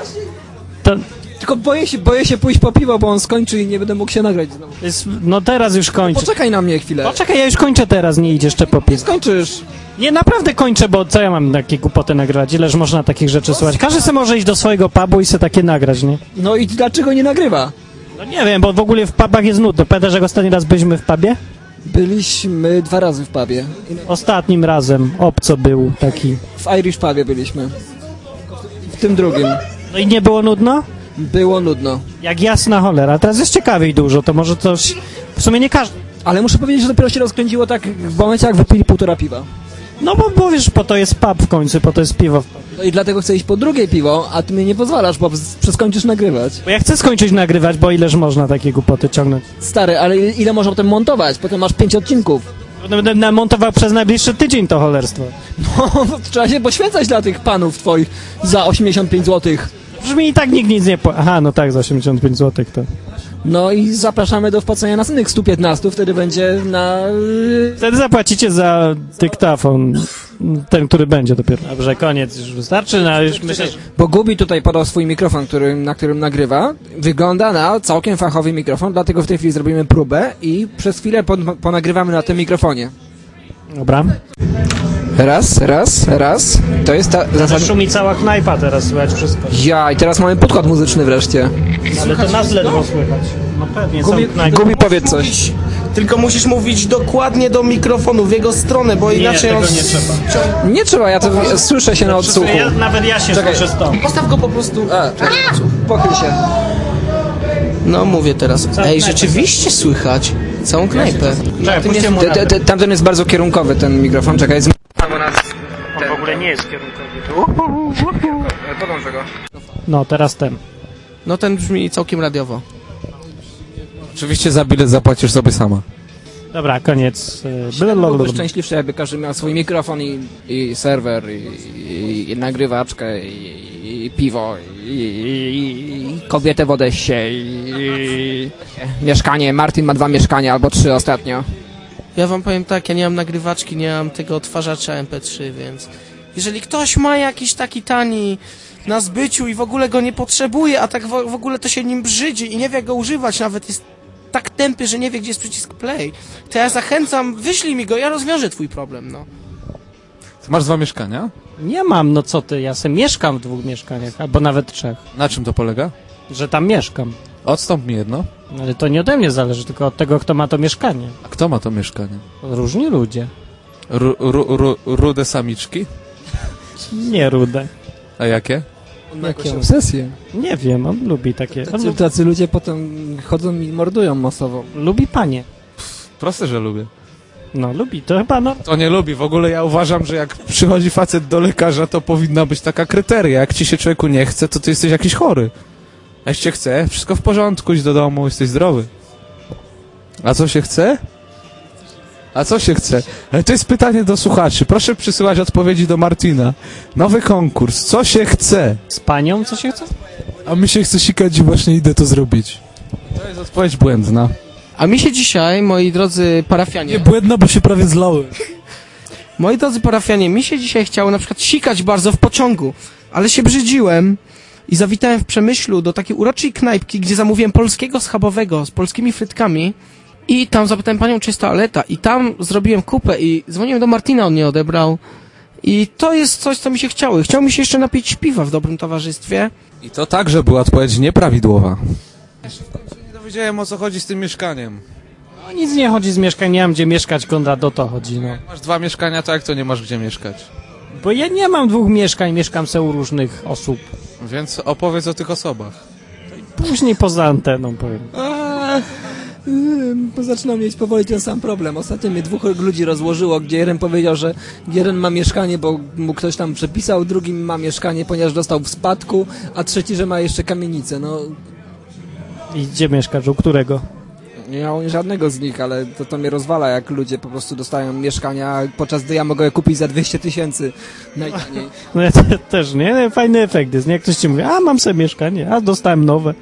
Speaker 1: To
Speaker 2: Tylko boję się, boję się pójść po piwo, bo on skończy i nie będę mógł się nagrać znowu.
Speaker 1: jest... No teraz już kończę.
Speaker 2: Poczekaj na mnie chwilę.
Speaker 1: Poczekaj, ja już kończę teraz, nie idź jeszcze po pies.
Speaker 2: Skończysz.
Speaker 1: Nie, naprawdę kończę, bo co ja mam takie głupoty nagrywać? Ileż można takich rzeczy słuchać? Każdy se może iść do swojego pubu i se takie nagrać, nie?
Speaker 2: No i dlaczego nie nagrywa?
Speaker 1: No nie wiem, bo w ogóle w pubach jest nudno. Pamiętasz, jak ostatni raz byliśmy w pubie?
Speaker 2: Byliśmy dwa razy w pubie.
Speaker 1: Ostatnim razem obco był taki.
Speaker 2: W Irish pubie byliśmy. W tym drugim.
Speaker 1: No i nie było nudno?
Speaker 2: Było nudno.
Speaker 1: Jak jasna cholera. Teraz jest ciekawiej dużo, to może coś... W sumie nie każdy...
Speaker 2: Ale muszę powiedzieć, że dopiero się rozkręciło tak w momencie, jak wypili półtora piwa.
Speaker 1: No bo, bo wiesz, po to jest pub w końcu, po to jest piwo. w pub.
Speaker 2: No i dlatego chcę iść po drugie piwo, a ty mnie nie pozwalasz, bo z- przeskończysz nagrywać.
Speaker 1: Bo ja chcę skończyć nagrywać, bo ileż można takie głupoty ciągnąć.
Speaker 2: Stary, ale ile ile można potem montować? Potem masz pięć odcinków.
Speaker 1: Bo Będę namontował przez najbliższy tydzień to cholerstwo.
Speaker 2: No, trzeba się poświęcać dla tych panów twoich za 85 zł.
Speaker 1: Brzmi i tak nikt nic nie pła... Aha, no tak, za 85 zł to...
Speaker 2: No i zapraszamy do wpłacenia następnych 115, wtedy będzie na... y,
Speaker 1: Wtedy zapłacicie za dyktafon, ten, który będzie dopiero. Dobrze, koniec, już wystarczy, no już myślę, że...
Speaker 2: Bo Gubi tutaj podał swój mikrofon, który, na którym nagrywa. Wygląda na całkiem fachowy mikrofon, dlatego w tej chwili zrobimy próbę i przez chwilę pon- ponagrywamy na tym mikrofonie.
Speaker 1: Dobra.
Speaker 2: Raz, raz, raz. To jest ta zasada...
Speaker 1: Szumi cała knajpa teraz, słychać wszystko.
Speaker 2: Ja, i teraz mamy podkład muzyczny wreszcie.
Speaker 1: Ale to nas ledwo słychać. No pewnie, są knajpy.
Speaker 2: Gubi, powiedz coś.
Speaker 3: Tylko musisz mówić dokładnie do mikrofonu, w jego stronę, bo inaczej
Speaker 1: tego
Speaker 3: on...
Speaker 1: nie trzeba.
Speaker 2: Nie trzeba, ja to słyszę się na odsłuchu.
Speaker 1: Ja, nawet ja się
Speaker 2: Czekaj.
Speaker 1: słyszę z tą.
Speaker 3: Postaw go po prostu...
Speaker 2: A, czekaj, pochyl się.
Speaker 3: No mówię teraz. Ej,
Speaker 1: knajpę.
Speaker 3: rzeczywiście słychać. Całą knajpę. No,
Speaker 1: Czekaj, puśćcie mu
Speaker 2: Te, te, te, tamten jest bardzo kierunkowy, ten mikrofon, czekaj. Z...
Speaker 1: On w ogóle nie jest kierunkowy.
Speaker 2: Podążę go.
Speaker 1: No, teraz ten.
Speaker 3: No ten brzmi całkiem radiowo.
Speaker 4: Oczywiście za bilet zapłacisz sobie sama.
Speaker 1: Dobra, koniec. y,
Speaker 2: Byłby
Speaker 1: blablabla.
Speaker 2: szczęśliwszy, jakby każdy miał swój mikrofon i, i serwer, i, i, i nagrywaczkę, i, i piwo, i, i, i kobietę w Odessie, i, i mieszkanie. Martin ma dwa mieszkania, albo trzy ostatnio.
Speaker 3: Ja wam powiem tak, ja nie mam nagrywaczki, nie mam tego odtwarzacza MP3, więc... Jeżeli ktoś ma jakiś taki tani na zbyciu i w ogóle go nie potrzebuje, a tak w, w ogóle to się nim brzydzi i nie wie jak go używać, nawet jest tak tępy, że nie wie gdzie jest przycisk play, to ja zachęcam, wyślij mi go, ja rozwiążę twój problem, no.
Speaker 4: Ty masz dwa mieszkania?
Speaker 1: Nie mam, no co ty, ja se mieszkam w dwóch mieszkaniach, albo nawet trzech,
Speaker 4: Na czym to polega?
Speaker 1: że tam mieszkam.
Speaker 4: Odstąp mi jedno.
Speaker 1: Ale to nie ode mnie zależy, tylko od tego, kto ma to mieszkanie.
Speaker 4: A kto ma to mieszkanie?
Speaker 1: Różni ludzie.
Speaker 4: Ru, ru, ru, rude samiczki?
Speaker 1: Nie rude.
Speaker 4: A jakie?
Speaker 2: Jakie obsesje.
Speaker 1: Nie wiem, on lubi takie. On lu-
Speaker 2: Tacy ludzie potem chodzą i mordują masowo.
Speaker 1: lubi panie.
Speaker 4: Proste, że lubię.
Speaker 1: No, lubi, to chyba no.
Speaker 4: To nie lubi. W ogóle ja uważam, że jak przychodzi facet do lekarza, to powinna być taka kryteria. Jak ci się człowieku nie chce, to ty jesteś jakiś chory. Jak się chce, wszystko w porządku, idź do domu, jesteś zdrowy. A co się chce? A co się chce? E, To jest pytanie do słuchaczy. Proszę przysyłać odpowiedzi do Martina. Nowy konkurs. Co się chce?
Speaker 1: Z panią co się chce?
Speaker 5: A mi się chce sikać i właśnie idę to zrobić.
Speaker 4: To jest odpowiedź błędna.
Speaker 3: A mi się dzisiaj, moi drodzy parafianie...
Speaker 5: Nie błędna, bo się prawie zlały.
Speaker 3: Moi drodzy parafianie, mi się dzisiaj chciało na przykład sikać bardzo w pociągu, ale się brzydziłem i zawitałem w Przemyślu do takiej uroczej knajpki, gdzie zamówiłem polskiego schabowego z polskimi frytkami i tam zapytałem panią, czy jest toaleta i tam zrobiłem kupę i dzwoniłem do Martina, on nie odebrał i to jest coś, co mi się chciało. Chciał mi się jeszcze napić piwa w dobrym towarzystwie.
Speaker 4: I to także była odpowiedź nieprawidłowa.
Speaker 6: Nie dowiedziałem o co chodzi z tym mieszkaniem.
Speaker 1: No nic nie chodzi z mieszkaniem, nie mam gdzie mieszkać, Konrad, o to chodzi, no.
Speaker 6: Masz dwa mieszkania, tak to nie masz gdzie mieszkać.
Speaker 1: Bo ja nie mam dwóch mieszkań, mieszkam se u różnych osób.
Speaker 6: Więc opowiedz o tych osobach.
Speaker 1: Później poza anteną powiem.
Speaker 2: Ym, Bo mm, zaczynam mieć powoli ten sam problem. Ostatnio mnie dwóch ludzi rozłożyło, gdzie jeden powiedział, że jeden ma mieszkanie, bo mu ktoś tam przepisał, drugi ma mieszkanie, ponieważ dostał w spadku, a trzeci, że ma jeszcze kamienicę. No,
Speaker 1: I gdzie mieszkasz, u którego?
Speaker 2: nie miałem żadnego z nich, ale to, to mnie rozwala, jak ludzie po prostu dostają mieszkania, podczas gdy ja mogę je kupić za 200 tysięcy najtaniej.
Speaker 1: No ja te, też nie, nie, fajny efekt jest, nie? Ktoś ci mówi, a mam sobie mieszkanie, a dostałem nowe.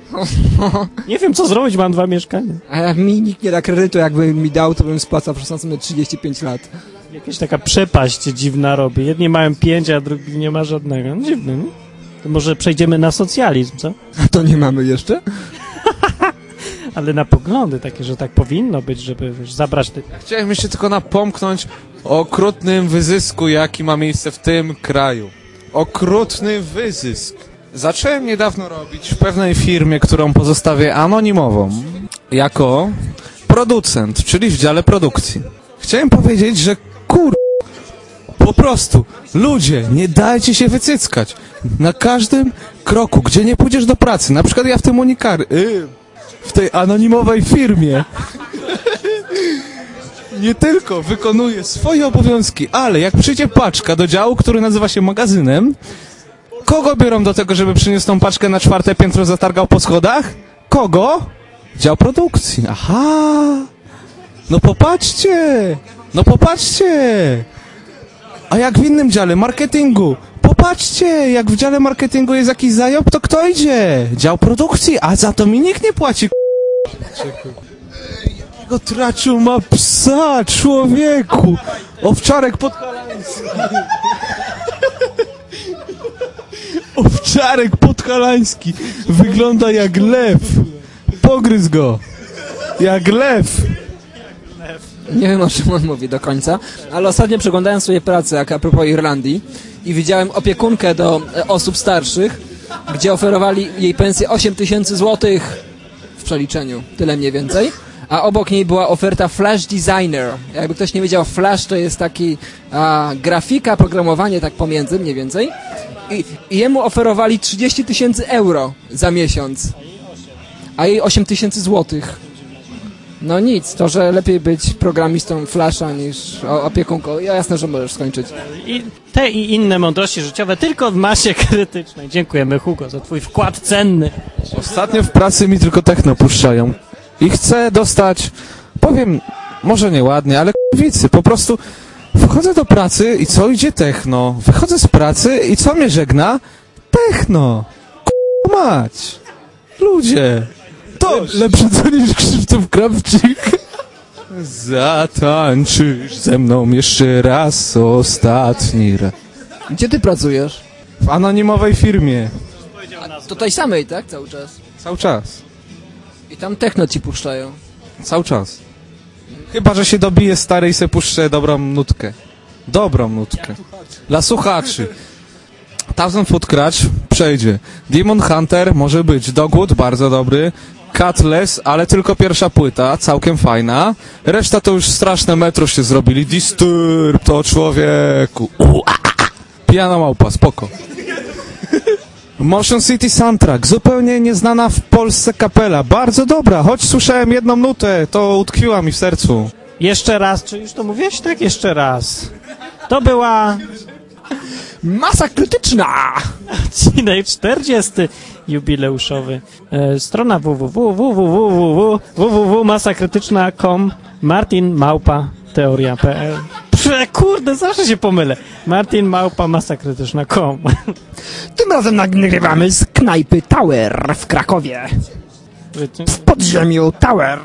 Speaker 1: Nie wiem co zrobić, mam dwa mieszkania.
Speaker 2: A jak mi nikt nie da kredytu, jakby mi dał, to bym spłacał przez następne 35 lat.
Speaker 1: Jakaś taka przepaść dziwna robi. Jedni mają pięć, a drugi nie ma żadnego. No, dziwne, nie? To może przejdziemy na socjalizm, co?
Speaker 2: A to nie mamy jeszcze?
Speaker 1: Ale na poglądy takie, że tak powinno być, żeby wiesz, zabrać te...
Speaker 6: Chciałem jeszcze tylko napomknąć o okrutnym wyzysku, jaki ma miejsce w tym kraju. Okrutny wyzysk. Zacząłem niedawno robić w pewnej firmie, którą pozostawię anonimową, jako producent, czyli w dziale produkcji.
Speaker 4: Chciałem powiedzieć, że kur... Po prostu, ludzie, nie dajcie się wycyckać. Na każdym kroku, gdzie nie pójdziesz do pracy, na przykład ja w tym unikar... y, w tej anonimowej firmie, nie tylko wykonuję swoje obowiązki, ale jak przyjdzie paczka do działu, który nazywa się magazynem, kogo biorą do tego, żeby przyniósł tą paczkę na czwarte piętro, zatargał po schodach? Kogo? Dział produkcji. Aha! No popatrzcie! No popatrzcie! A jak w innym dziale marketingu? Popatrzcie, jak w dziale marketingu jest jakiś zajob, to kto idzie? Dział produkcji, a za to mi nikt nie płaci. k***a. Jakiego traczu ma psa, człowieku? Owczarek podhalański. Owczarek podhalański wygląda jak lew. Pogryz go. Jak lew.
Speaker 2: Nie wiem o czym on mówi do końca, ale ostatnio przeglądałem sobie pracę jak a propos Irlandii i widziałem opiekunkę do e, osób starszych, gdzie oferowali jej pensję 8 tysięcy złotych w przeliczeniu, tyle mniej więcej. A obok niej była oferta Flash Designer. Jakby ktoś nie wiedział, Flash to jest taki a, grafika, programowanie tak pomiędzy mniej więcej. I, i jemu oferowali 30 tysięcy euro za miesiąc, a jej 8 tysięcy złotych. No nic, to że lepiej być programistą Flasha niż o- opiekunką. Ja jasne, że możesz skończyć.
Speaker 1: I te i inne mądrości życiowe tylko w masie krytycznej. Dziękujemy Hugo za twój wkład cenny.
Speaker 4: Ostatnio w pracy mi tylko techno puszczają. I chcę dostać, powiem, może nieładnie, ale k***wicy, po prostu wchodzę do pracy i co idzie techno? Wychodzę z pracy i co mnie żegna? Techno! K***a mać! Ludzie! To lepsze to niż Krzysztof Krawczyk. Zatańczysz ze mną jeszcze raz, ostatni raz.
Speaker 2: Gdzie ty pracujesz?
Speaker 4: W anonimowej firmie.
Speaker 2: To tej samej, tak? Cały czas.
Speaker 4: Cały czas.
Speaker 2: I tam techno ci puszczają.
Speaker 4: Cały czas. Chyba, że się dobije stary i se puszczę dobrą nutkę. Dobrą nutkę. Dla słuchaczy. Thousand Foot Crutch przejdzie. Demon Hunter może być. Dogwood bardzo dobry. Cutlass, ale tylko pierwsza płyta, całkiem fajna. Reszta to już straszne metro się zrobili. Disturb to człowieku. U, a, a, a. Piano małpa, spoko. Motion City Soundtrack, zupełnie nieznana w Polsce kapela, bardzo dobra, choć słyszałem jedną nutę, to utkwiła mi w sercu.
Speaker 1: Jeszcze raz, czy już to mówiłeś? Tak, jeszcze raz. To była
Speaker 2: Masa krytyczna!
Speaker 1: odcinek 40 jubileuszowy. E, strona www.masakrytyczna.com Martin Małpa teoria.pl. Prze, kurde, zawsze się pomylę. Martin Małpa, masa krytyczna.com.
Speaker 7: Tym razem nagrywamy z knajpy Tower w Krakowie. W podziemiu Tower.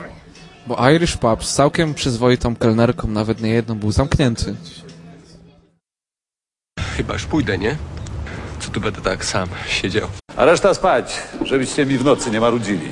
Speaker 4: Bo Irish Pub z całkiem przyzwoitą kelnerką, nawet nie jedną, był zamknięty.
Speaker 8: Chyba już pójdę, nie? Czy tu będę tak sam siedział?
Speaker 9: A reszta spać, żebyście mi w nocy nie marudzili.